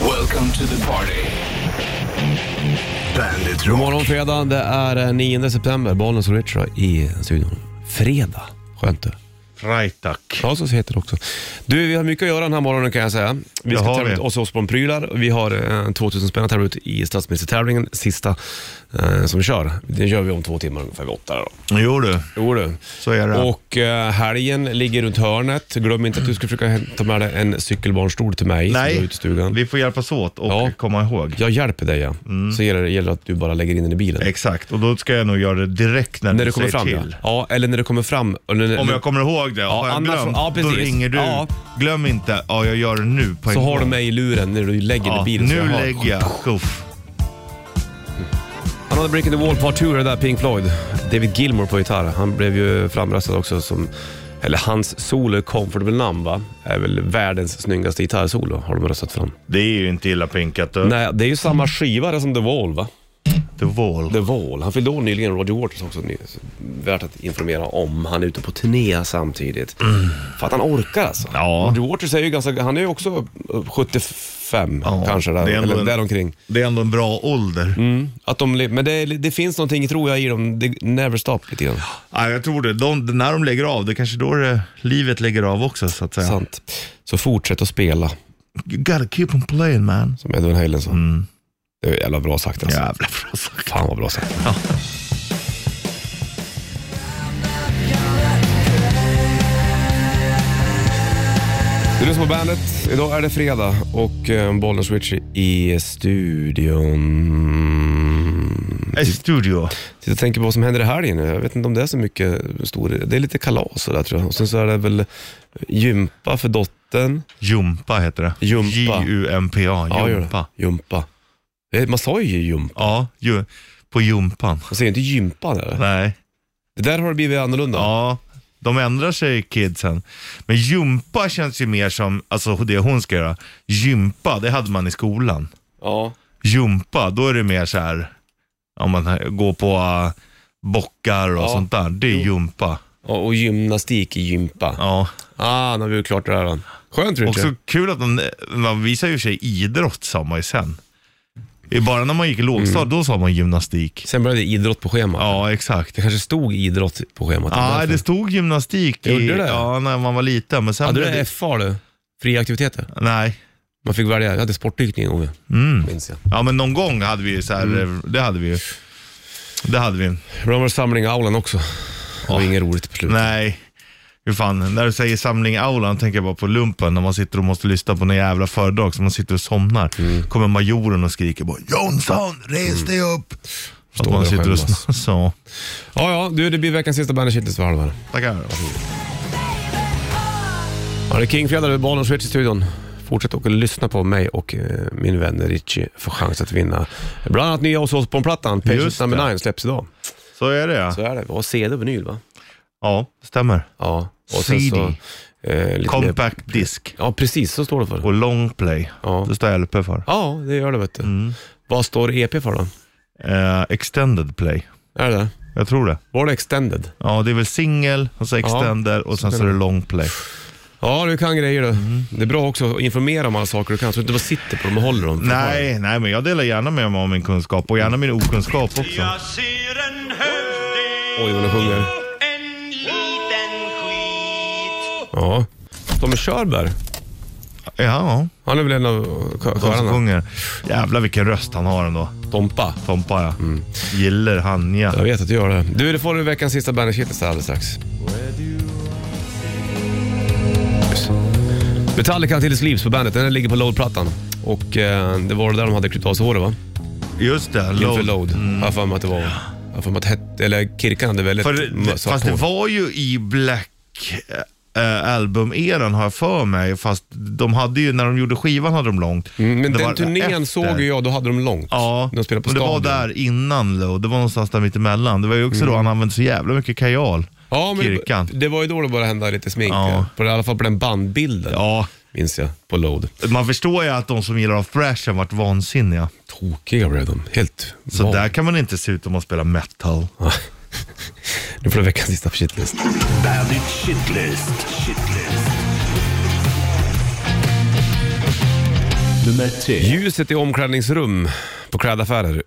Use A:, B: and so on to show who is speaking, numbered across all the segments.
A: Welcome to the party. Bandit
B: God
A: Rock.
B: morgon fredag, det är eh, 9 september. Bollnäs och Richard i studion. Fredag, skönt du.
C: Freitag.
B: Ja, så heter det också. Du, vi har mycket att göra den här morgonen kan jag säga. Vi
C: Det
B: ska
C: har
B: tävla
C: vi.
B: ut oss och på prylar. Vi har eh, 2000 spänn att tävla ut i statsministertävlingen, sista eh, som vi kör. Det gör vi om två timmar ungefär, vid åtta. Då.
C: Jo du,
B: Jo du.
C: så är det.
B: Och eh, helgen ligger runt hörnet. Glöm inte att du ska försöka hem- ta med dig en cykelbarnstol till mig. som går
C: Nej,
B: ut i stugan.
C: vi Mm. får hjälpas åt och
B: Ja.
C: komma ihåg.
B: Jag hjälper dig ja. Så gäller det gäller att du bara lägger in den i bilen.
C: Exakt, och då ska jag nog göra det direkt när,
B: när
C: du
B: du kommer
C: säger
B: fram
C: till.
B: ja. ja, eller när du kommer fram. eller när-
C: Om jag kommer ihåg det, har jag
B: annars-
C: glömt,
B: ja,
C: då
B: precis.
C: ringer du.
B: Ja.
C: Glöm inte, ja jag gör det nu på en
B: så har du
C: gång.
B: mig i luren när du lägger den i
C: ja,
B: bilen. så
C: Nu
B: jag hör.
C: lägger jag. Uff.
B: Another Brick in the Wall Part 2 det där Pink Floyd. David Gilmour på gitarr. Han blev ju framröstad också som, eller hans solo Comfortable Numb va? Är väl världens snyggaste gitarrsolo har de röstat fram.
C: Det är ju inte illa pinkat du.
B: Nej, det är ju samma skiva där som The Wall va?
C: The Wall.
B: The Wall. Han fyllde år nyligen, Roger Waters också. ny- så Värt att informera om. Han är ute på turné samtidigt. För att han orkar alltså.
C: Ja.
B: Roger Waters är ju ganska, han är ju också eh, 75
C: Ja,
B: kanske, där,
C: det är ändå
B: eller
C: en-
B: däromkring.
C: Det är ändå en bra ålder.
B: Mm. Att de, le- men det, är- det finns någonting tror jag i dem, det never stop lite grann.
C: Ja, jag tror det. De, när de lägger av, det är kanske då det, livet lägger av också så att säga.
B: Sant. Så fortsätt att spela,
C: You gotta keep on playing man.
B: som Edvin Halen sa.
C: Mm.
B: Det är jävla bra sagt alltså.
C: Jävla bra sagt.
B: Fan vad bra sagt. Du lyssnar på bandet. Idag är det fredag och eh, Bollnäs Richie i studion.
C: I studio.
B: Sitter och tänker på vad som händer i helgen. nu. Jag vet inte om det är så mycket stor... Det är lite kalas sådär tror jag. Och sen så är det väl gympa för dottern.
C: Jumpa heter det.
B: Jumpa.
C: J-U-M-P-A.
B: Ja, gör det.
C: Jumpa.
B: Jumpa. Eh, Man sa ju gympa.
C: Ja, ju, på jumpan.
B: Man säger inte gympa där.
C: Nej.
B: Det där har det blivit annorlunda.
C: Ja, de ändrar sig kidsen. Men jumpa känns ju mer som, alltså det hon ska göra. Gympa, det hade man i skolan.
B: ja.
C: Jumpa, då är det mer så här, om man går på äh, bockar och
B: Ja.
C: sånt där. Det är jumpa.
B: Ja, Och gymnastik i gympa.
C: Ja.
B: Ah, nu har vi gjort klart det där. då. Skönt
C: Och
B: Richard.
C: så kul att man, man visar ju sig idrott sa man ju sen. Det är Bara när man gick i lågstadiet,
B: Mm.
C: då sa man gymnastik.
B: Sen började idrott på schemat.
C: Ja, exakt.
B: Det kanske stod idrott på schemat.
C: Ja,
B: Därför.
C: det stod gymnastik i,
B: Gjorde det?
C: Ja, när man var liten. Men sen
B: Hade
C: blev
B: du
C: det,
B: FA du? Fria aktiviteter.
C: Nej.
B: Man fick välja. Jag hade sportdykning en gång,
C: Mm.
B: minns jag.
C: Ja, men någon gång hade vi ju så här,
B: Mm.
C: det hade vi ju. Det hade vi.
B: Ibland var det samling i aulan också. Det var inget roligt på slutet.
C: Nej. Hur fan, när du säger samling aulan tänker jag bara på lumpen när man sitter och måste lyssna på några jävla föredrag så man sitter och somnar.
B: Mm.
C: Kommer majoren och skriker bara Jonsson, res dig upp!
B: Står
C: Står man
B: där
C: sitter och
B: själv, alltså.
C: sn- så.
B: Ja, ja, du, det blir veckans sista Bandet Shitlist för halvan.
C: Tackar.
B: Ja, det är King-fredag, det är Bollnäs Switch i studion. Fortsätt att lyssna på mig och eh, min vän Richie för chans att vinna bland annat nya hos oss på plattan Patient
C: Just
B: number
C: det.
B: 9 släpps idag.
C: Så är det ja.
B: Så är det. Och CD och vinyl va?
C: Ja, stämmer.
B: Ja. Och
C: CD.
B: eh, lite mer-
C: Compact disk
B: Ja, precis. Så står det för.
C: och long play.
B: Ja.
C: Det står LP för.
B: Ja, det gör det vet du.
C: Mm.
B: Vad står EP för då?
C: Eh, extended play.
B: Är det det?
C: Jag tror det.
B: Var det extended?
C: Ja, det är väl singel och så extender och sen så är det long play.
B: Ja, du kan grejer du.
C: Mm.
B: Det är bra också att informera om alla saker du kan, så du inte bara sitter på dem och håller dem.
C: Nej, nej, men jag delar gärna med mig av min kunskap och gärna min okunskap också.
D: Jag ser en hövding,
B: Oj, vad du sjunger.
D: en liten skit.
B: Ja. Tommy Körberg,
C: Ja,
B: han är väl en av kö-
C: de som
B: körarna?
C: sjunger. Jävlar vilken röst han har ändå.
B: Tompa.
C: Tompa ja.
B: Mm.
C: Gillar han ja.
B: Jag vet att du gör det. Du, det får du veckans sista Bandage Hitlist alldeles strax. Just. Metallica till Sleeves på bandet, den ligger på Load-plattan. Och eh, det var det där de hade klippt av sig håret va?
C: Just det,
B: Inför
C: load.
B: Load, har
C: Mm.
B: jag för mig att det var. Jag har för mig att het, eller Kirkan hade väldigt
C: För, det-
B: svart
C: fast det
B: hår.
C: var ju i Black eh, album-eran har jag för mig. Fast de hade ju, när de gjorde skivan hade de långt.
B: Mm, Men
C: Det
B: den
C: var
B: turnén
C: efter.
B: såg ju jag, då hade de långt.
C: Ja,
B: De spelade på
C: men det var
B: stadion.
C: där innan Load. Det var någonstans där mittemellan. Det var ju också då han använde så jävla mycket kajal.
B: Ja, men
C: Kirkan.
B: det var ju då det började hända lite smink.
C: Ja.
B: Ja. På, I alla fall på den bandbilden,
C: Ja,
B: minns jag, på Load.
C: man förstår ju att de som gillar Thrash har varit vansinniga.
B: Tokiga blev de. Helt
C: Så
B: van.
C: där kan man inte se ut om man spelar metal.
B: Nu får du veckans sista på shitlist.
A: Bandit Shitlist. Shitlist. Nummer tre.
B: Ljuset i omklädningsrum på klädaffärer. Uh.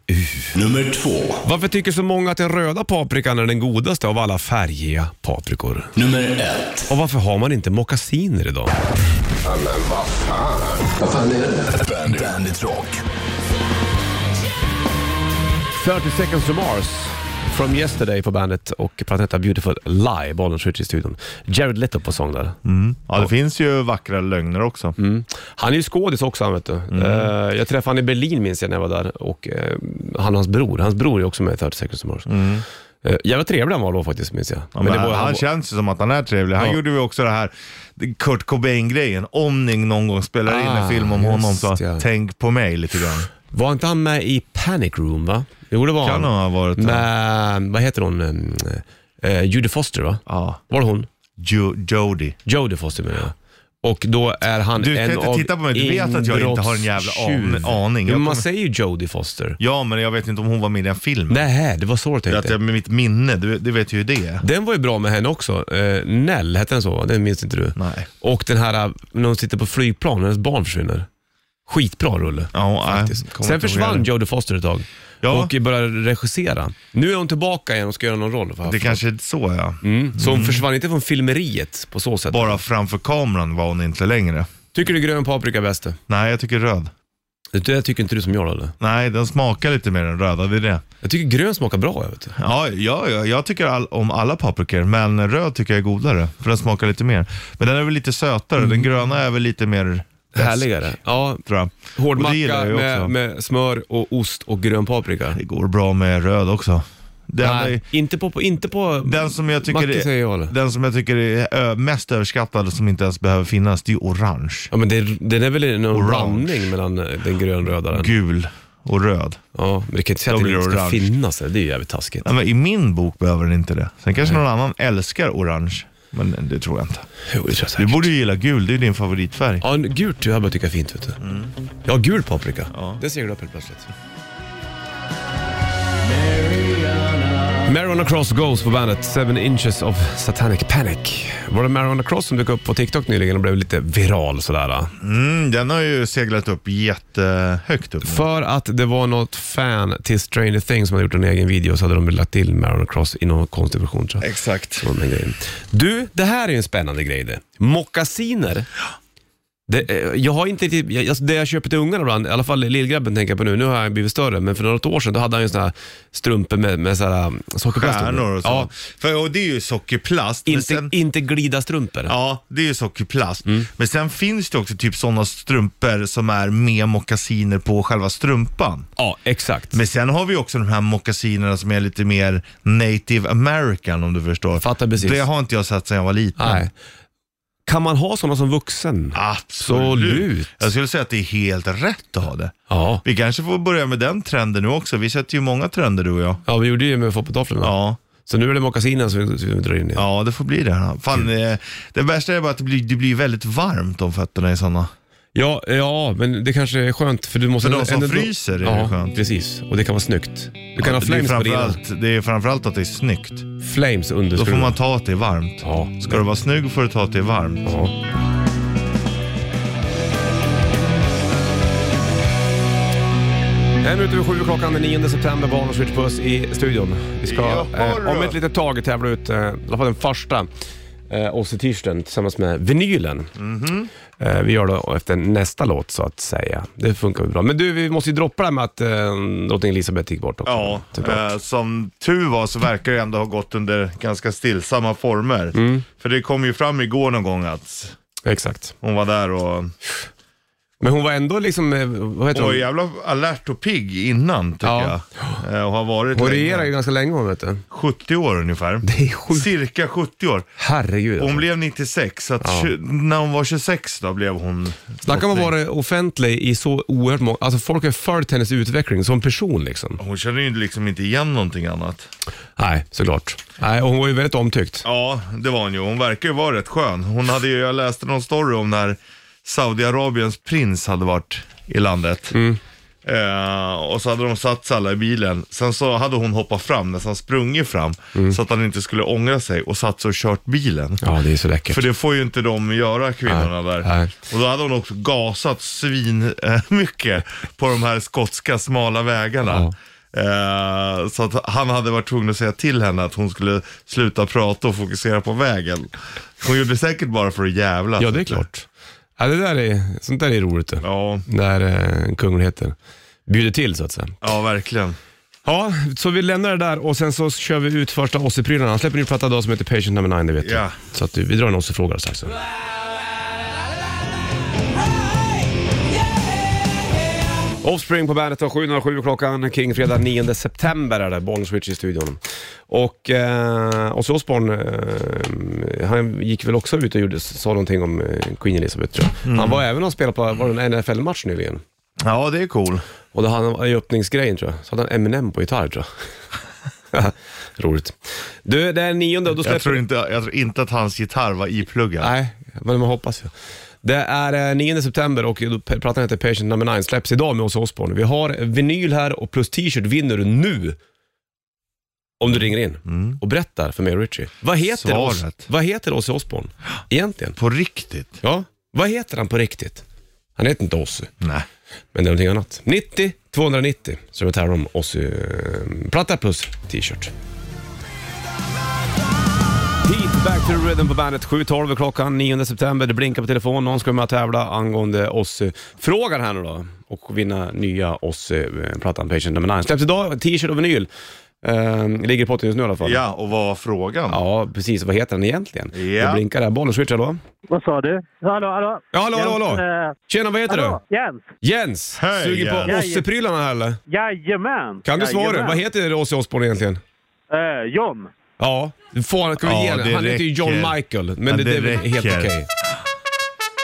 A: Nummer två.
B: Varför tycker så många att den röda paprikan är den godaste av alla färgiga paprikor?
A: Nummer ett.
B: Och varför har man inte mockasiner idag?
A: Bandit, Bandit Rock.
B: 30 seconds to Mars from yesterday på bandet och planetar Beautiful Lie, Bollen skjuter i studion. Jared Leto på sång där.
C: Ja, Mm. det finns ju vackra lögner också.
B: Han är ju skådis också han vet du. Eh, jag träffade han i Berlin minns jag när jag var där och eh, han och hans bror, hans bror är också med i 30 seconds to Mars. Mm. jävla trevlig han var då faktiskt minns jag.
C: Ja, men
B: det var,
C: han,
B: var-
C: känns ju som att han är trevlig. Han
B: Ja.
C: gjorde ju också det här Kurt Cobain-grejen. Om ni någon gång spelar in
B: Ah,
C: en film om honom så
B: just ja.
C: tänk på mig lite grann.
B: Var inte han med i Panic Room va? Jo det var
C: Kan
B: han.
C: ha varit det.
B: Med, vad heter hon? Eh, Judy Foster va?
C: Ja.
B: Var det hon?
C: Jo, Jody.
B: Jodie Foster menar jag. Och då är han
C: Du kan
B: en
C: inte
B: av
C: titta på mig. Du vet att jag inte har en jävla an-
B: inbrottstjuv.
C: aning.
B: Jo,
C: Jag
B: Men man
C: kommer-
B: säger ju Jodie Foster.
C: Ja, men jag vet inte om hon var med i den filmen.
B: Nej, det var så jag
C: Det är
B: tänkte.
C: Att jag, med mitt minne, du, du vet ju hur det är.
B: Den var ju bra med henne också. Eh, Nell, hette den så? Den minns inte du?
C: Nej.
B: Och den här eh, när hon sitter på flygplan och hennes barn försvinner. Skitbra rulle.
C: Ja, nej,
B: faktiskt.
C: kommer
B: Sen
C: inte ihåg
B: försvann
C: det.
B: Jodie Foster ett tag
C: Ja.
B: och började regissera. Nu är hon tillbaka igen och ska göra någon roll. För
C: Det kanske är så ja.
B: mm. Så hon försvann inte från filmeriet på så sätt.
C: Bara framför kameran var hon inte längre.
B: Tycker du grön paprika är bäst? det?
C: Nej, jag tycker röd.
B: Det tycker inte du som jag eller?
C: Nej, den smakar lite mer än röda, det är det.
B: Jag tycker grön smakar bra. Jag vet. du.
C: Ja, ja, ja jag tycker all, om alla paprikor, men röd tycker jag är godare, för den smakar lite mer. Men den är väl lite sötare,
B: Mm.
C: den gröna är väl lite mer härlig,
B: Härligare. Ja,
C: tror jag.
B: hård
C: Och det
B: macka
C: gillar jag ju också.
B: med, med smör och ost och grön paprika.
C: Det går bra med röd också. Den,
B: Nej, inte på... på- Inte på
C: den som jag tycker,
B: Macke säger jag,
C: är,
B: eller?
C: den som jag tycker är ö, mest överskattad och som inte ens behöver finnas, det är ju orange,
B: Ja, men det, den är väl någon
C: Orange.
B: blandning mellan eh, den grönröda den.
C: gul och röd.
B: Ja, men det kan inte säga
C: Då
B: att den
C: blir det
B: inte ska
C: orange.
B: finnas. där. Det är ju jävligt taskigt.
C: Nej, men I min bok behöver den inte det. Sen kanske någon annan älskar orange, men det tror jag inte.
B: Jo, det tror jag
C: Du
B: säkert.
C: borde ju gilla gul, det är ju din favoritfärg.
B: Ja, en gult har jag börjat tycka är fint. Vet du. Ja, gul paprika. Det seglar upp helt plötsligt. Marion Cross Goes på bandet, 7 Inches of Satanic Panic. Var det Marion Cross som dök upp på TikTok nyligen och blev lite viral sådär? eh?
C: Mm, den har ju seglat upp jättehögt upp. nu.
B: För att det var något fan till Stranger Things som hade gjort en egen video så hade de lagt till Marion Cross i någon konstig version tror jag.
C: Exakt.
B: Så den grejen. Du, det här är ju en spännande grej det. Mockasiner. Det, eh, jag har inte riktigt- jag, alltså det jag köper till ungarna ibland, i alla fall lillgrabben tänker jag på nu, nu har han blivit större, men för något år sedan då hade han ju såna här strumpor med, med såna här um, sockerplast under.
C: Stjärnor och så.
B: Ja,
C: För, och det är ju sockerplast. men
B: inte,
C: sen-
B: inte glida strumpor.
C: Ja, det är ju sockerplast.
B: Mm.
C: Men sen finns det också typ sådana strumpor som är med mockasiner på själva strumpan.
B: Ja, exakt.
C: Men sen har vi också de här mockasinerna som är lite mer native american om du förstår.
B: Fattar precis.
C: Det har inte jag sett sedan jag var liten.
B: Nej. Kan man ha sådana som vuxen? Absolut.
C: Absolut. Jag skulle säga att det är helt rätt att ha det.
B: Ja.
C: Vi kanske får börja med den trenden nu också. Vi sätter ju många trender du och jag.
B: Ja, vi gjorde ju med fotbollstofflorna.
C: Ja,
B: Så nu är det mockasinen som vi, som vi drar in i.
C: ja det får bli det. här. Fan, eh, det värsta är bara att det blir, det blir väldigt varmt om fötterna är sådana.
B: Ja, ja, men det kanske är skönt för du måste...
C: För de som
B: ändå-
C: fryser är det
B: ja,
C: skönt.
B: precis. Och det kan vara snyggt. Du kan ha
C: det, är
B: flames på dina.
C: framförallt, det är framförallt att det är snyggt.
B: Flames under
C: Då får
B: skruven.
C: man ta att det är varmt.
B: Ja.
C: Ska du vara snygg får du ta att det är varmt.
B: Ja. En minut över sju klockan den 9 september, Barn och Switch Puss i studion. Vi ska
C: Jaha,
B: eh, om
C: du.
B: ett litet tag tävla ut eh, i alla fall den första eh, Ozzy Tirsten tillsammans med vinylen. Eh, vi gör det efter nästa låt så att säga. Det funkar väl bra. Men du, vi måste ju droppa det här med att eh, drottning Elisabeth gick bort också.
C: Ja,
B: Typ.
C: eh, som tur var så verkar det ändå ha gått under ganska stillsamma former.
B: Mm.
C: För det kom ju fram igår någon gång att
B: Exakt.
C: hon var där och
B: Men hon var ändå liksom, eh, vad heter
C: hon var
B: hon?
C: jävla alert och pigg innan tycker
B: Ja.
C: jag. Eh, Och har varit
B: Hon
C: länge.
B: regerade ju ganska länge hon vet du.
C: 70 år ungefär.
B: Det är sjukt.
C: Cirka 70 år.
B: Herregud. alltså.
C: Hon blev 96, så att tju- när hon var 26 då blev hon...
B: Snacka om att
C: drottning.
B: vara offentlig i så oerhört många... Alltså folk har följt hennes utveckling som person liksom.
C: Hon kände ju liksom inte igen någonting annat.
B: Nej, såklart. Nej, och hon var ju väldigt omtyckt.
C: Ja, det var hon ju. Hon verkar ju vara rätt skön. Hon hade ju, jag läste någon story om när Saudiarabiens prins hade varit i landet. Eh, och så hade de satt sig alla i bilen. Sen så hade hon hoppat fram, nästan sprungit fram, så att han inte skulle ångra sig och satt sig och kört bilen.
B: Ja, det är så läckert.
C: För det får ju inte de göra, kvinnorna
B: Nej,
C: där.
B: nej.
C: Och då hade hon också gasat svin eh, mycket på de här skotska smala vägarna. Eh, så att han hade varit tvungen att säga till henne att hon skulle sluta prata och fokusera på vägen. Hon gjorde det säkert bara för att jävla.
B: Ja, det är klart. Ja, det där är, sånt där är roligt. det.
C: Ja,
B: När eh, kungligheten bjuder till så att säga.
C: ja verkligen.
B: Ja, så vi lämnar det där och sen så kör vi ut första Ozzy-prylarna. Han släpper en ny platta idag som heter Patient Number 9, det vet
C: Ja.
B: du. Så att vi drar en Ozzy-fråga strax. Offspring på bandet var 7.07 klockan kring fredag 9 september är det, Bollnäs Switch i studion. Och eh, Ozzy Osbourne, eh, han gick väl också ut och gjorde, sa någonting om eh, Queen Elizabeth tror jag. Han var även och spelade på var det en NFL-match nyligen.
C: Ja, det är cool.
B: Och då hade han i öppningsgrejen tror jag, så hade han Eminem på gitarr tror jag. Roligt. Du, det är nionde och då
C: Jag
B: släpper...
C: tror, inte, jag tror inte att hans gitarr var ipluggad.
B: Nej, men man hoppas ju. Det är eh, 9 september och då- plattan heter Patient Number 9 släpps idag med oss Osbourne. Vi har vinyl här och plus t-shirt vinner du nu. Om du ringer in och berättar för mig och Richie. Vad heter oss,
C: Svaret.
B: Vad heter Ozzy Osbourne egentligen?
C: På riktigt?
B: Ja, vad heter han på riktigt? Han heter inte Ozzy.
C: Nej.
B: Men det är någonting annat. 90 290 så vi tar om oss eh, platta plus t-shirt. Heat back to the rhythm på bandet. 7.12 är klockan 9 september. Det blinkar på telefon. Någon ska med och tävla angående oss frågan här nu då. Och vinna nya oss plattan Patient nummer 9. Släpps idag, t-shirt och vinyl. Eh, ligger i potten just nu i alla fall.
C: Ja, och vad var frågan?
B: Ja, precis. Vad heter den egentligen?
C: Ja.
B: Det blinkar där. Bollen switch, hallå?
E: Vad sa du? Hallå, hallå?
B: Ja, hallå, hallå, hallå.
E: Eh,
B: Tjena, vad heter
E: hallå?
B: du?
E: Jens?
B: Jens!
C: Hej,
B: Suger på
E: Jens.
B: osseprylarna här eller?
E: Jajamän!
B: Kan du svara?
E: Jajamän.
B: Vad heter Ozzy Osbourne egentligen?
E: Eh, John?
B: Ja, får, kan vi
C: Ja,
B: ge den?
C: det
B: Han heter ju John
C: räcker.
B: Michael, men
C: Ja,
B: det, det är
C: det
B: väl helt okej.
C: räcker.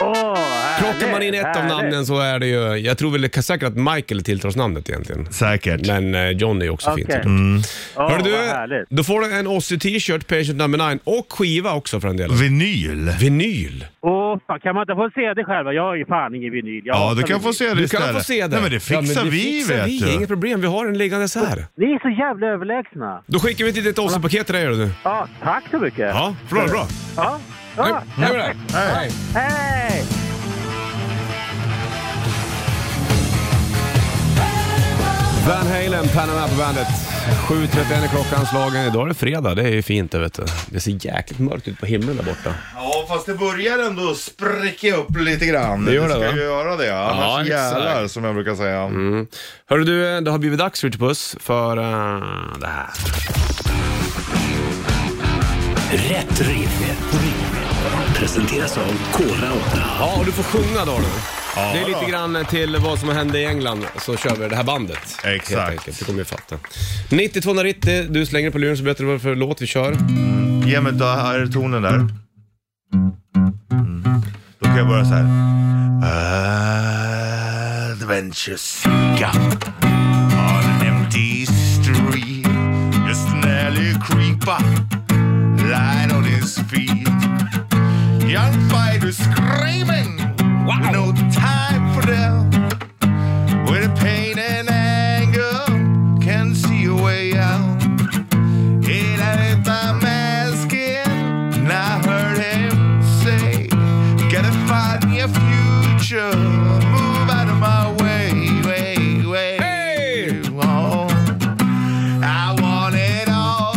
E: Åh, härligt,
B: Plockar man in ett av
E: härligt.
B: namnen så är det ju, jag tror väl säkert att Michael tilltras namnet egentligen.
C: Säkert.
B: Men eh, John är ju också
E: Okej.
B: fint såklart.
E: Åh,
B: Hörru
E: vad härligt.
B: du, då får du en Ozzy t-shirt, Patient number 9 och skiva också för en del.
C: Vinyl?
B: Vinyl.
E: Åh, fan, kan man inte få se det själva? Jag har ju fan ingen vinyl. Jag
C: Ja,
E: hatar
C: du kan
E: vinyl.
C: få se det
B: Du
C: istället.
B: kan få se det.
C: Nej, men det
B: Ja,
C: fixar vi
B: fixar
C: vet
B: vi.
C: du.
B: Inget problem, vi har den liggandes här.
E: Ni är så jävla överlägsna.
B: Då skickar vi ett litet Ozzy-paket till dig gör du.
E: Ja, tack så mycket.
B: Ja, bra, bra.
E: Ja.
B: Nu
E: ja.
B: nu är det. Hej.
E: Hej!
B: Van Halen, Panama på bandet. 7.31 är klockan slagen. Idag är det fredag, det är ju fint det vet du. Det ser jäkligt mörkt ut på himlen där borta.
C: Ja, fast det börjar ändå spricka upp lite grann.
B: Det gör det,
C: ska
B: va?
C: ju göra det.
B: Ja,
C: Annars
B: exakt. Mm.
C: jävlar, som jag brukar säga.
B: Hörru du, eh, det har blivit dags Richard Puss för eh, det här.
A: Rätt riff. Rätt riff. Presenteras av Kora 8.
B: Ja, och du får sjunga då. du. det är lite grann till vad som hände i England, så kör vi det här bandet.
C: Exakt.
B: Helt enkelt. Det kommer vi fatta. 9290, du slänger på luren så berättar du vad det är för låt vi kör.
C: Ge mig då, här är tonen där. Mm. Då kan jag börja så här. Adventure seeker on an empty street. Just an alley creeper lying on his feet. Young fighters screaming. No time for them. With pain and anger, can see a way out. It ain't the masking, and I heard him say, Gotta find your future, move out of my way, way, way.
B: Hey!
C: Oh, I want it all,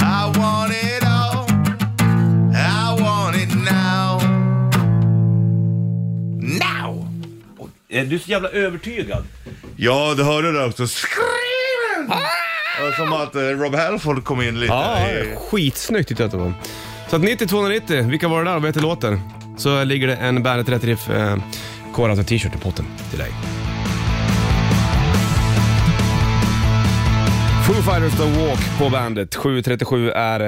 C: I want it all, I want it now. Now!
B: Eh, Du är så jävla övertygad.
C: Ja, det hörde du också. Screaming! Ah! Som att eh, Rob Halford kom in lite.
B: Ja,
C: i-
B: skitsnyggt tyckte jag att det var. Så att 9290, vilka var det där och vad heter låten? Så ligger det en Bandet 30 Riff eh, Kårans t-shirt i potten till dig. Foo Fighters The Walk på bandet. 7.37 är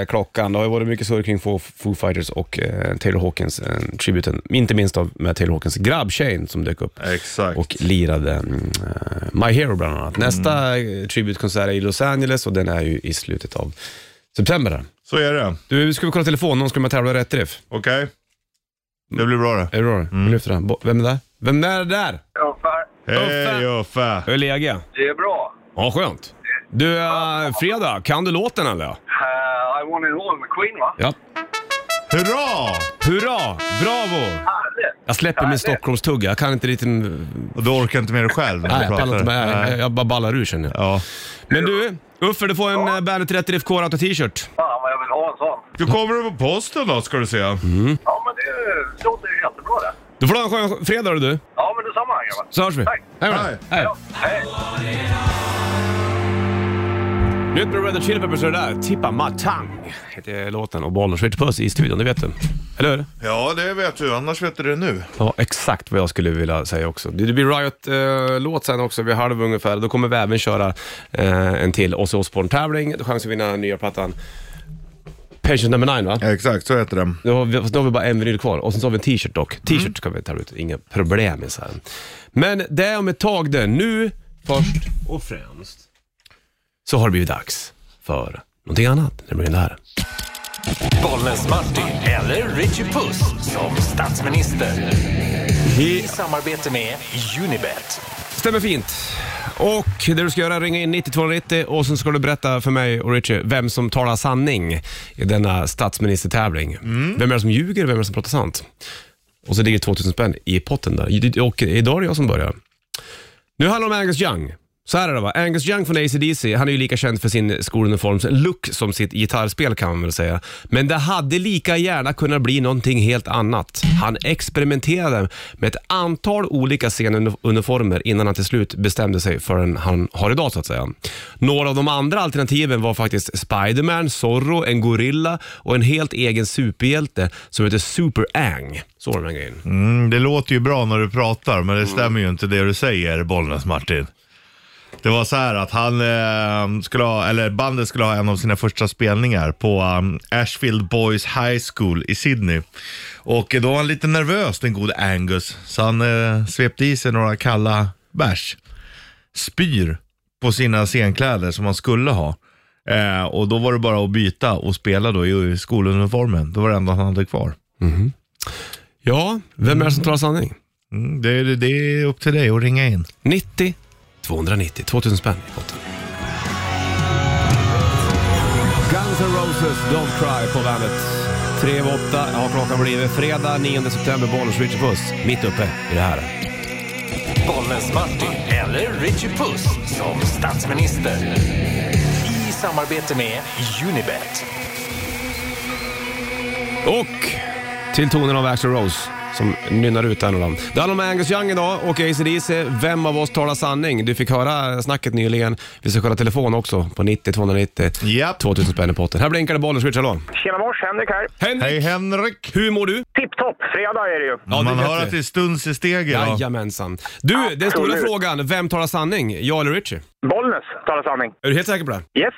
B: eh, klockan. Det har ju varit mycket surr kring Foo, Foo Fighters och eh, Taylor Hawkins, eh, tributen. Inte minst av med Taylor Hawkins grabb Shane som dök upp
C: Exakt.
B: och lirade mm, eh, My Hero bland annat. Nästa eh, tributkonsert är i Los Angeles och den är ju i slutet av september. Där.
C: Så är det.
B: Du, ska vi kolla telefon? Någon ska med och tävla i rätt riff.
C: Okej? Det blir bra det.
B: Är det bra? Vi lyfter den. Bo- Vem är där? Vem är där?
F: Ja, Per,
C: Hej Uffe!
B: Hur är läget?
F: Det är bra.
B: Ja, skönt. Du, eh, Fredag, kan du låten eller?
F: Uh, I want it all med Queen, va?
B: Ja.
C: Hurra!
B: Hurra! Bravo!
F: Härligt!
B: Jag släpper min
F: Härligt.
B: Stockholmstugga. Jag kan inte riktigt... Nej,
C: Och du orkar inte med dig själv när du
B: jag pallar
C: pratar?
B: inte med. Jag, jag bara ballar ur känner jag.
C: Ja.
B: Men du, Uffe, du får en ja. Bandet 30 FK Rauta t-shirt.
F: Fan vad jag vill ha en sån.
C: Du kommer du på posten då ska du se.
F: Ja, men det låter ju jättebra det.
B: Du får ha en skön fredag då, du.
F: Ja, men detsamma grabbar.
B: Så hörs vi.
F: Tack.
B: Hej med dig.
C: Hej.
B: Hej.
F: Ja, hej!
B: Nytt med Red Hot Chili Peppers och det där. Tippa Matang heter låten och Bollnäs Ritchie Puss i studion, det vet du. Eller hur?
C: Ja, det vet du. Annars vet du det nu.
B: Ja, exakt vad jag skulle vilja säga också. Det det blir Riot-låt sen också vid halv ungefär. Då kommer vi även köra eh, en till Ozzy Osbourne-tävling. Då har chans att vinna den nya plattan Patient number 9 va?
C: Exakt, så heter den.
B: Nu har, vi, fast nu har vi bara en vinyl kvar och sen så har vi en t-shirt dock. T-shirt ska vi ta ut, inga problem med sen. Men det är om ett tag det. Nu, först och främst, så har det blivit dags för någonting annat. Nämligen det här.
G: Bollnäs Martin eller Richie Puss som statsminister. I samarbete med Unibet.
B: Stämmer fint. Och det du ska göra är ringa in 9290 och sen ska du berätta för mig och Richie vem som talar sanning i denna statsministertävling. Vem är det som ljuger och vem är det som pratar sant? Och så ligger 2000 spänn i potten där. Och idag är det jag som börjar. Nu handlar det om Angus Young. Så här är det va, Angus Young från ACDC, han är ju lika känd för sin skoluniforms-look som sitt gitarrspel kan man väl säga. Men det hade lika gärna kunnat bli någonting helt annat. Han experimenterade med ett antal olika scenuniformer innan han till slut bestämde sig för den han har idag så att säga. Några av de andra alternativen var faktiskt Spiderman, Zorro, en gorilla och en helt egen superhjälte som heter Super Ang. Så var den här grejen.
C: Mm, det låter ju bra när du pratar, men det stämmer ju inte det du säger, Bollnäs-Martin. Det var så här att han eh, skulle ha, eller bandet skulle ha en av sina första spelningar på um, Ashfield Boys High School i Sydney. Och eh, då var han lite nervös, den gode Angus, så han eh, svepte i sig några kalla bärs. Spyr på sina scenkläder som han skulle ha. Eh, och då var det bara att byta och spela då i i skoluniformen. Det var det enda han hade kvar.
B: Ja, vem är det som talar sanning?
C: Mm, det, det, det är upp till dig att ringa in.
B: 90 290, 2000 spänn i potten. Guns N' Roses, Don't Cry på bandet. Tre över åtta har klockan blivit. Fredag 9 september, Bollnäs Richard Puss. Mitt uppe i det här.
G: Bollnäs Martin eller Richie Puss som statsminister. I samarbete med Unibet.
B: Och till tonen av Axl Rose som nynnar ut en och annan. Det handlar om Angus Young idag och ACDC. Vem av oss talar sanning? Du fick höra snacket nyligen. Vi ska kolla telefon också på 90 290
C: Japp.
B: 2000 spänn i potten. Här blinkar det Bollnäs Richard, hallå.
H: Tjena mors, Henrik här.
B: Henrik,
C: Hej Henrik!
B: hur mår du?
H: Tipptopp, fredag är det ju.
B: Ja, det
C: Man
B: vet
C: hör
B: vi.
C: att det är stuns i steget. va?
B: Jajamensan. Du, den stora
H: Absolut.
B: frågan, vem talar sanning? Jag eller Richie?
H: Bollnäs talar sanning.
B: Är du helt säker på det?
H: Yes.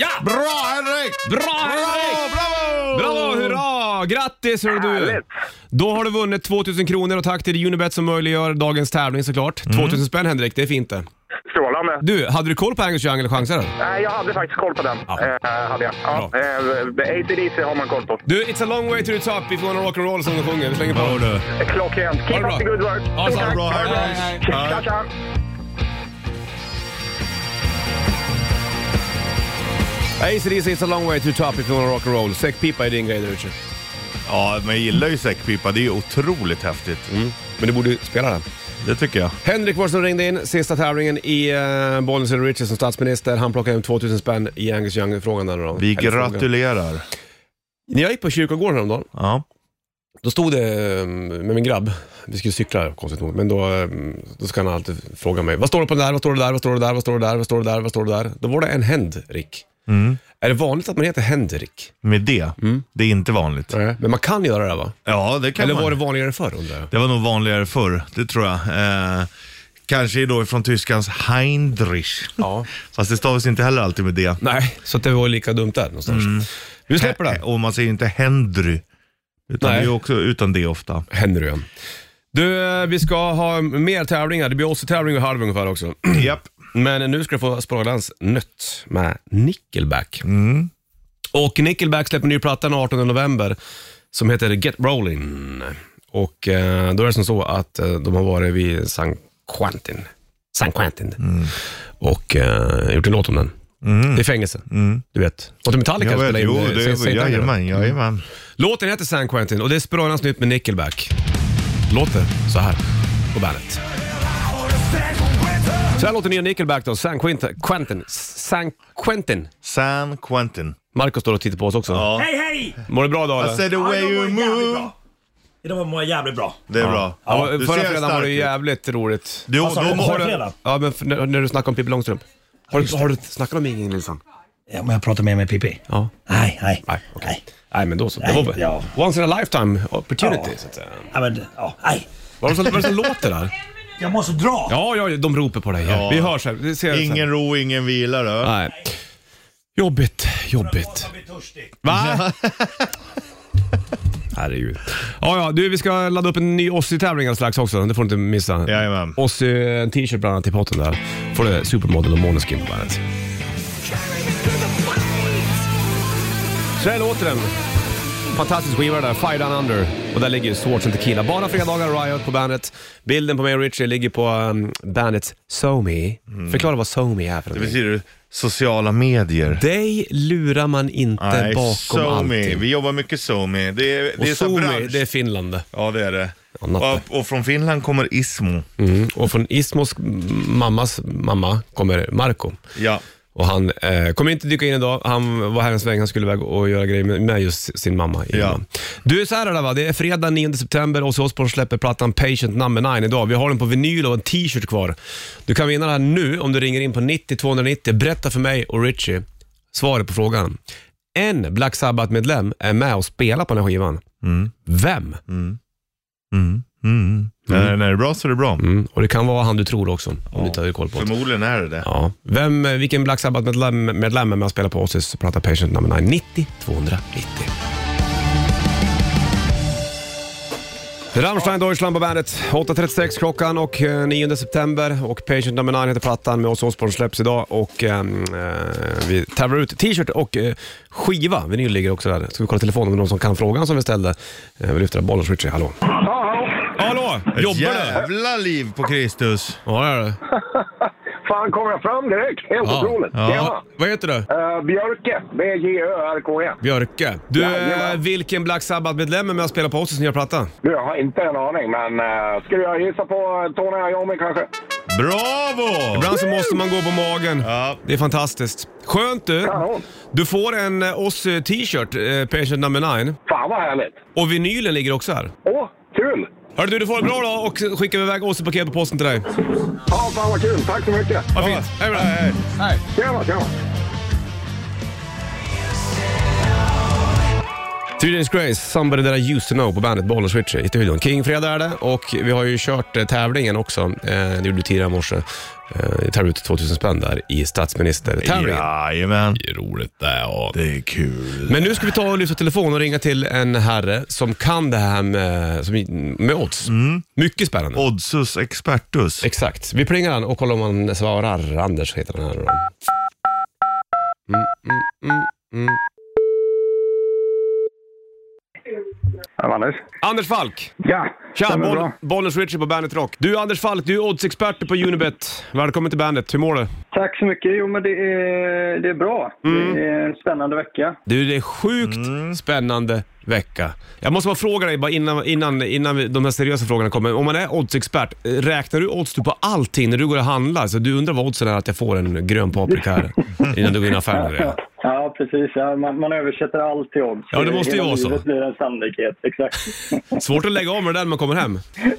B: Ja!
C: Bra Henrik!
B: Bra
C: Bravo!
B: Henrik!
C: Bravo!
B: Bravo, hurra! Grattis hörru du!
H: Härligt.
B: Då har du vunnit 2000 kronor och tack till Unibet som möjliggör dagens tävling såklart. 2000 spänn Henrik, det är fint det.
H: Strålande.
B: Du, hade du koll på Angus Young eller chansade du?
H: Nej, jag hade faktiskt koll på den.
B: Ja.
H: Eh, hade jag. Ja,
B: Bra.
H: eh, ACDC har man koll på.
B: Du, it's a long way to the top if you wanna rock and roll som de sjunger. Vi slänger på.
C: Ja, du.
H: Eh, Klockrent.
B: Ha det
H: Keep
B: bra.
H: up the good work.
B: Ha det
H: Stort
B: så
H: tack.
C: bra,
H: Ha det
C: hej,
B: hej, hej.
H: Tja,
C: Hej.
H: tja, tja.
B: ACDC, it's a long way to the top if you wanna rock and roll. Säckpipa är din grej där Richard.
C: Ja, men jag gillar ju säckpipa. Det är ju otroligt häftigt.
B: Men du borde ju spela den.
C: Det tycker jag.
B: Henrik var det som ringde in, sista tävlingen i uh, Bollnäs eller Richie som statsminister. Han plockade hem 2000 spänn i Angus Young-frågan. där då.
C: Vi
B: Eller frågan.
C: gratulerar.
B: När jag gick på kyrkogården häromdagen,
C: Ja.
B: då stod det eh, med min grabb, vi skulle cykla konstigt nog, men då, eh, då ska han alltid fråga mig, vad står det på den där, vad står det där, vad står det där, vad står det där, vad står det där, vad står det där? Då var det en Henrik.
C: Mm.
B: Är det vanligt att man heter Henrik?
C: Med det. Det är inte vanligt.
B: Nej. Men man kan göra det va?
C: Ja, det kan
B: Eller
C: man.
B: var det vanligare förr undrar jag?
C: Det var nog vanligare förr, det tror jag. Eh, kanske då från tyskans Heindrich.
B: Ja.
C: Fast det stavas inte heller alltid med det.
B: Nej, så att det var lika dumt där någonstans.
C: Mm.
B: Vi släpper det.
C: Och man säger inte Hendry. Utan
B: Nej.
C: det är ju också utan det ofta.
B: händer det. Du, eh, vi ska ha mer tävlingar. Det blir också tävling och halv ungefär också.
C: Japp.
B: Men nu ska du få Sparlans Nött med Nickelback.
I: Mm.
B: Och Nickelback släpper ny platta den 18 november som heter Get Rolling. Och eh, då är det som så att eh, de har varit vid Sankt Quentin. San Quentin.
I: Mm.
B: Och eh, gjort en låt om den. Det är fängelse, du vet. Och till Metallica
I: Mm. Jag vet,
B: spelade in
I: jo,
B: eh,
I: det
B: Saint-
I: är
B: Saint Anger.
I: Jajamän,
B: Mm.
I: jajamän.
B: Låten heter San Quentin och det är Spoilerns nytt med Nickelback. Låter så här på bandet. Så här låter nya Nickelback då, San Quentin. Quentin. San Quentin.
I: San Quentin.
B: Marco står och tittar på oss också.
I: Ja.
J: Hej hej!
B: Mår du bra idag
I: I
J: Alltså,
B: eller?
I: said Alltså, the way you move.
J: Idag mår jag jävligt bra.
I: Det är bra.
B: Ja, förra fredagen
I: stark
B: var det
I: ut.
B: jävligt roligt.
I: Du,
J: Vad sa
I: du,
J: du?
I: har,
J: Förra
I: du,
J: fredagen?
B: Ja, men för, när, när du snackade om Pippi Långstrump. Har du, har du snackat om Ingrid Nilsson?
J: Ja, men jag pratar med mig Pippi.
B: Ja.
J: Nej, nej.
B: Nej, okej. Nej, men då så. Det
J: Nej,
B: var,
J: ja.
B: Once in a lifetime opportunity,
J: Ja.
B: så att säga.
J: Ja, men, ja, nej.
B: Vad är det som- vad är det som låter där?
J: Jag måste dra.
B: Ja, ja, de ropar på dig. här.
I: Ja.
B: Vi hörs här. Vi ses här.
I: ingen ro, ingen vila då.
B: Nej. Jobbigt, jobbigt.
J: Jag blir törstig.
B: Va? Herregud. Ja, ja, du vi ska ladda upp en ny Ozzy-tävling alldeles strax också. Det får du inte missa.
I: Jajamän.
B: Ozzy, en t-shirt bland annat i potten där. får du Supermodel och Måneskin på bandet. Så här låter den. Fantastisk skiva det där, Fight Down Under. Och där ligger ju Swords and Tequila. Bara fredagar, Riot på bandet. Bilden på mig och Richie ligger på um, bandets SoMe. Förklara vad SoMe är för
I: Det
B: någonting.
I: betyder sociala medier.
B: Dig lurar man inte bakom
I: SoMe.
B: allting.
I: Vi jobbar mycket SoMe. Det är,
B: Och
I: det är så
B: Suomi,
I: bransch.
B: det är Finland det.
I: Ja, det är det.
B: Ja, natta.
I: Och, och från Finland kommer Ismo.
B: Mm. Och från Ismos mammas mamma kommer Marco.
I: Ja.
B: Och han eh, kommer inte dyka in idag. Han var här en sväng. Han skulle iväg och göra grejer med, med just sin mamma. innan. Du, så här är det va. Det är fredag 9 september och så Osbourne släpper plattan Patient number 9 idag. Vi har den på vinyl och en t-shirt kvar. Du kan vinna den här nu om du ringer in på 90 290. Berätta för mig och Richie svaret på frågan. En Black Sabbath-medlem är med och spelar på den här skivan. Vem?
I: Mm. Mm. När, när det är bra så är det bra.
B: Mm. Och det kan vara han du tror också, om du inte har koll på det.
I: Förmodligen är det det.
B: Ja. Vem, eh, vilken Black Sabbath-medlem medlem är med och spelar på Ozzy's platta Patient No. 9? 90 290. Rammstein Deutschland på bandet. 8.36 klockan och eh, 9 september. Och Patient No. 9 heter plattan med oss Osbourne släpps idag. Och ehm, eh, Vi tävlar ut t-shirt och eh, skiva. Vinyl ligger också där. Ska vi kolla telefonen om det är någon som kan frågan som vi ställde? Eh, vi lyfter upp bollen. Richie, hallå. Hallå! Jobbar du?
I: Jävla liv på Kristus.
B: Ja, det gör du.
H: Fan, kom jag fram direkt? Helt otroligt. Tjena!
B: Ja. Vad heter du?
H: Eh, Björke, B-J-Ö-R-K-E.
B: Björke. Du,
H: Jajamän.
B: eh, vilken Black Sabbath-medlem är med och spelar på Ossis nya platta?
H: Du, jag har inte en aning, men eh, skulle jag gissa på eh, Tony Iommi kanske?
I: Bravo!
B: Ibland så måste man gå på magen.
I: Ja.
B: Det är fantastiskt. Skönt du!
H: Kanon.
B: Du får en eh, Ozzy t-shirt, eh, Patient number 9.
H: Fan vad härligt!
B: Och vinylen ligger också här.
H: Åh, kul!
B: Hörru du, du får det bra då och skickar vi iväg Ozzy-paket på posten till dig.
H: Ja, fan vad kul! Tack så mycket!
B: Vad fint. Hej med dig. Hej.
H: Tjena, tjena!
B: Three Days Grace, Somebody That I Used To Know på bandet Bollnäs Ritchie i studion. King-fredag är det och vi har ju kört eh, tävlingen också. Eh, det gjorde du tidigare i morse. Eh, vi tar ut 2000 spänn där i statsministertävlingen.
I: Jajamän.
B: Det är roligt det. Ja.
I: Det är kul.
B: Men nu ska vi ta och lyfta telefon och ringa till en herre som kan det här med, som, med odds. Mycket spännande.
I: Oddsus expertus.
B: Exakt. Vi plingar han och kollar om han svarar. Anders heter den här då. Mm, mm, mm, mm.
F: Anders?
B: Anders Falk!
F: Ja,
B: Tja,
F: stämmer
B: boll,
F: bra.
B: Bollnäs Richie på Bandet Rock. Du Anders Falk, du är oddsexpert på Unibet. Välkommen till Bandet, hur mår du?
F: Tack så mycket. Jo, men det är, det är bra.
B: Mm.
F: Det är en spännande vecka.
B: Du, det är sjukt spännande vecka. Jag måste bara fråga dig bara innan, innan, innan vi- de här seriösa frågorna kommer. Om man är oddsexpert, eh, räknar du odds du på allting när du går och handlar? Så du undrar vad oddsen är att jag får en grön paprika här innan du går in i affären? och grejer.
F: Ja, precis. Ja, man, man översätter allt till odds.
B: Ja, det måste ju
F: Hela
B: vara så.
F: livet blir en sannolikhet. Exakt.
B: Svårt att lägga av med det där när man kommer hem.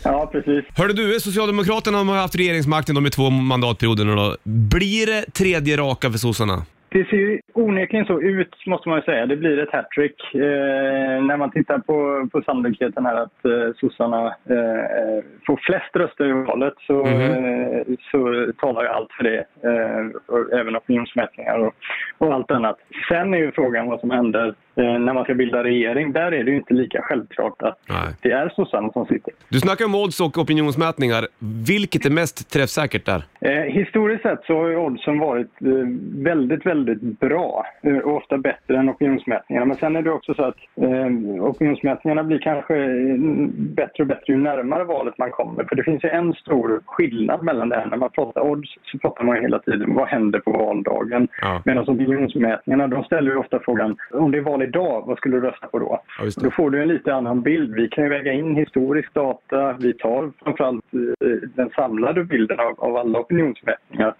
F: ja, precis.
B: Hörde du, Socialdemokraterna har haft regeringsmakten de i två mandatperioder nu då. Blir det tredje raka för sossarna?
F: Det ser ju onekligen så ut, måste man ju säga. Det blir ett hattrick eh, när man tittar på, på sannolikheten här att eh, sossarna eh, får flest röster i valet så, eh, så talar ju allt för det. Eh, och även opinionsmätningar och, och allt annat. Sen är ju frågan vad som händer eh, när man ska bilda regering. Där är det ju inte lika självklart att det är sossarna som sitter.
B: Du snackar om odds och opinionsmätningar. Vilket är mest träffsäkert där?
F: Eh, historiskt sett så har ju oddsen varit eh, väldigt, väldigt bra eh, och ofta bättre än opinionsmätningarna. Men sen är det också så att eh, opinionsmätningarna blir kanske eh, bättre och bättre ju närmare valet man kommer. För det finns ju en stor skillnad mellan det här. När man pratar odds så pratar man ju hela tiden vad händer på valdagen? Medan opinionsmätningarna, de ställer ju ofta frågan om det är val idag, vad skulle du rösta på då?
B: Och
F: Då får du en lite annan bild. Vi kan ju väga in historisk data. Vi tar framförallt eh, den samlade bilden av, av alla opinionsmätningar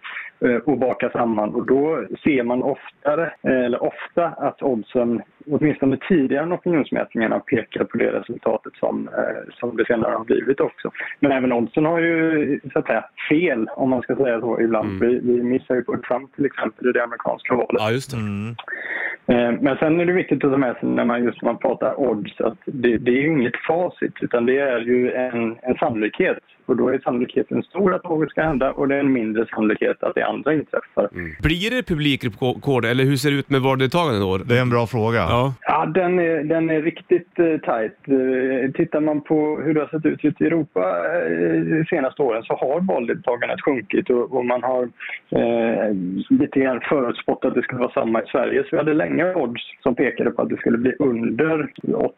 F: eh, och bakar samman. Och då ser man oftare, eh, eller ofta att oddsen, åtminstone tidigare än opinionsmätningarna, pekar på det resultatet som, eh, som det senare har blivit också. Men även oddsen har ju så att säga, fel, om man ska säga så, ibland. Vi, vi missar ju på Trump till exempel i det amerikanska valet.
B: Ja, just det.
F: Eh, Men sen är det viktigt att ta med sig när man, just när man pratar odds att det, det är ju inget facit utan det är ju en, en sannolikhet. Och då är sannolikheten stor att något ska hända och det är en mindre sannolikhet att det andra inträffar.
B: Blir det publikrekord eller hur ser det ut med valdeltagandet då? Det
C: är en bra fråga.
B: Ja.
F: Ja, den är, den är riktigt eh, tajt. Eh, tittar man på hur det har sett ut ute i Europa eh, de senaste åren så har valdeltagandet sjunkit och, och man har eh, lite grann förutspått att det skulle vara samma i Sverige. Så vi hade länge odds som pekade på att det skulle bli under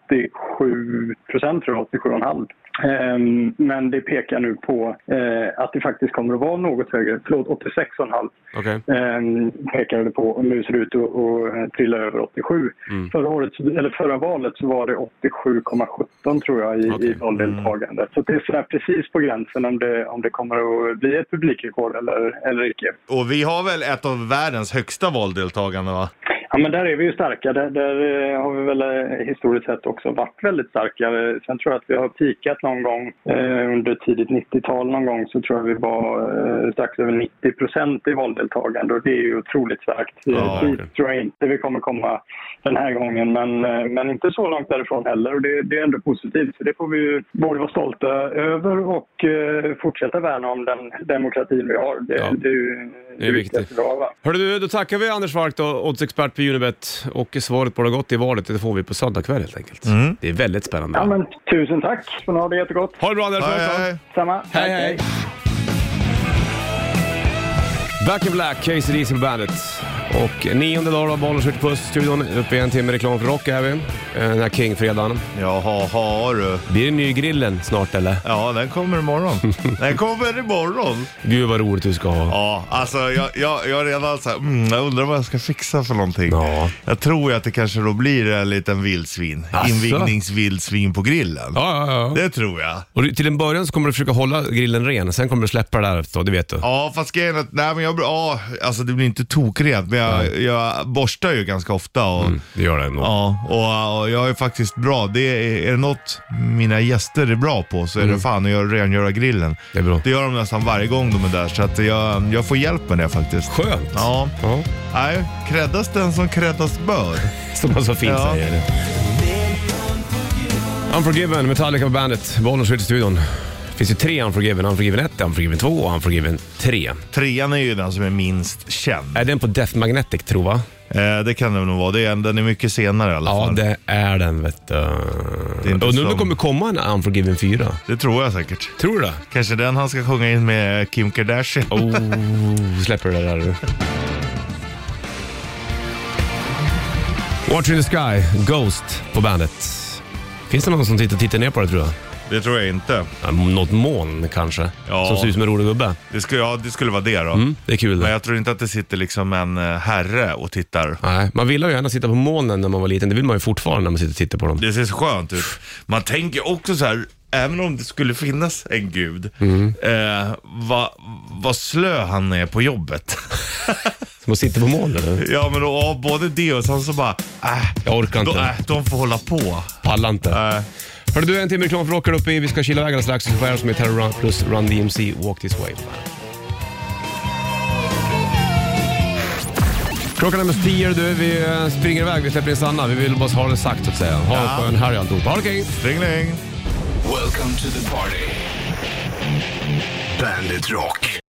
F: 87 procent, tror jag, 87,5. Ehm, Men det pekar nu på eh, att det faktiskt kommer att vara något högre. Förlåt, 86,5
B: Okej.
F: eh, pekade det på och nu ser det ut att att trilla över 87.
B: Mm.
F: Förra, året, eller förra valet så var det 87,17 tror jag i, i valdeltagande. Så det är sådär precis på gränsen om det, om det kommer att bli ett publikrekord eller, eller icke.
C: Och vi har väl ett av världens högsta valdeltagande va?
F: Ja, men där är vi ju starka. Där, där eh, har vi väl eh, historiskt sett också varit väldigt starka. Eh, Sen tror jag att vi har pikat någon gång eh, under tidigt 90-tal någon gång så tror jag vi var eh, strax över 90 procent i valdeltagande och det är ju otroligt starkt. Eh,
K: Ja,
F: dit
K: verkligen.
F: tror jag inte vi kommer komma den här gången men, eh, men inte så långt därifrån heller och det, det är ändå positivt. Så det får vi ju både vara stolta över och eh, fortsätta värna om den demokrati vi har. Det,
B: Ja.
F: det är ju
B: Det är viktigt.
F: viktigaste vi har, va?
B: Hörru du, då tackar vi Anders Falk då, oddsexpert på Unibet. Och svaret på hur det har gått i valet, det får vi på söndag kväll helt enkelt.
C: Mm.
B: Det är väldigt spännande.
F: Ja, men, tusen tack! Får ni ha det jättegott.
B: Ha det bra Anders!
F: Hej, hej. Samma.
B: Hej, hej. Back in Black, Casey Diesel Bandet. Och nionde dagen av Bollnäs skjuter puss studion. Uppe i en timme reklam för rock är vi. Eh, Den här King-fredagen.
C: Jaha, har du.
B: Blir det ny grillen snart eller?
C: Ja, den kommer imorgon. Den kommer imorgon.
B: Gud vad roligt du ska ha.
C: Ja, alltså jag, jag, jag är redan så här, mm, jag undrar vad jag ska fixa för någonting. Jag tror ju att det kanske då blir en liten vildsvin.
B: Asså?
C: Invigningsvildsvin på grillen.
B: Ja, ja, ja.
C: Det tror jag.
B: Och du- till en början så kommer du försöka hålla grillen ren, sen kommer du släppa det där efter, då, det vet du.
C: Ja, fast grejen är att, nej men jag, ja, alltså det blir inte tokrent, men jag, jag borstar ju ganska ofta. Och,
B: det gör det ändå.
C: Ja, och, och jag är faktiskt bra. Det är, är det något mina gäster är bra på så är
B: Mm.
C: det fan att göra- rengöra grillen.
B: Det är bra.
C: Det gör de nästan varje gång de är där, så att jag, jag får hjälp med det faktiskt.
B: Skönt.
C: Ja. Nej, kräddas den som kräddas bör.
B: Som alltså man så fint
C: Ja.
B: säger. Unforgiven, Metallica på bandet. Bollnäs skjuter studion. Det finns ju tre Unforgiven. Unforgiven 1, Unforgiven 2 och Unforgiven 3.
C: Trean är ju den som är minst känd.
B: Är den på Death Magnetic tror va?
C: Eh, det kan det nog vara. Det är, den är mycket senare i alla
B: Ja,
C: fall.
B: det är den vet du.
C: inte
B: Och nu
C: som-
B: kommer komma en Unforgiven 4.
C: Det tror jag säkert.
B: Tror du det?
C: Kanske den han ska sjunga in med Kim Kardashian.
B: Oh, släpper det där du. Watch in the sky, Ghost på bandet. Finns det någon som tittar, tittar ner på det tror jag?
C: Det tror jag inte.
B: Ja, något moln kanske,
C: Ja.
B: som ser ut som en rolig gubbe.
C: Det skulle, ja, det skulle vara det då.
B: Mm, det är kul det.
C: Men jag tror inte att det sitter liksom en eh, herre och tittar.
B: Nej, man ville ju gärna sitta på molnen när man var liten. Det vill man ju fortfarande när man sitter och tittar på dem.
C: Det ser så skönt ut. Man tänker också så här, även om det skulle finnas en gud,
B: Mm.
C: eh, vad vad slö han är på jobbet.
B: Som att sitta på molnen. eller?
C: ja, men då, ja, både det och sen så bara, äh,
B: Jag orkar
C: de,
B: inte.
C: äh, de får hålla på. Äh,
B: Pallar inte. Hörru du, en timme reklam för rockar uppe i. Vi ska kila iväg alldeles strax. Vi ska få Aerosmith med Terror Run plus Run DMC Walk This Way. Klockan är nästan tio du, vi eh, springer iväg. Vi släpper in Sanna. Vi vill bara ha det sagt så att säga. Ha en skön helg alltihopa. Ha det okej!
C: Ringling.
L: Welcome to the party. Bandit Rock.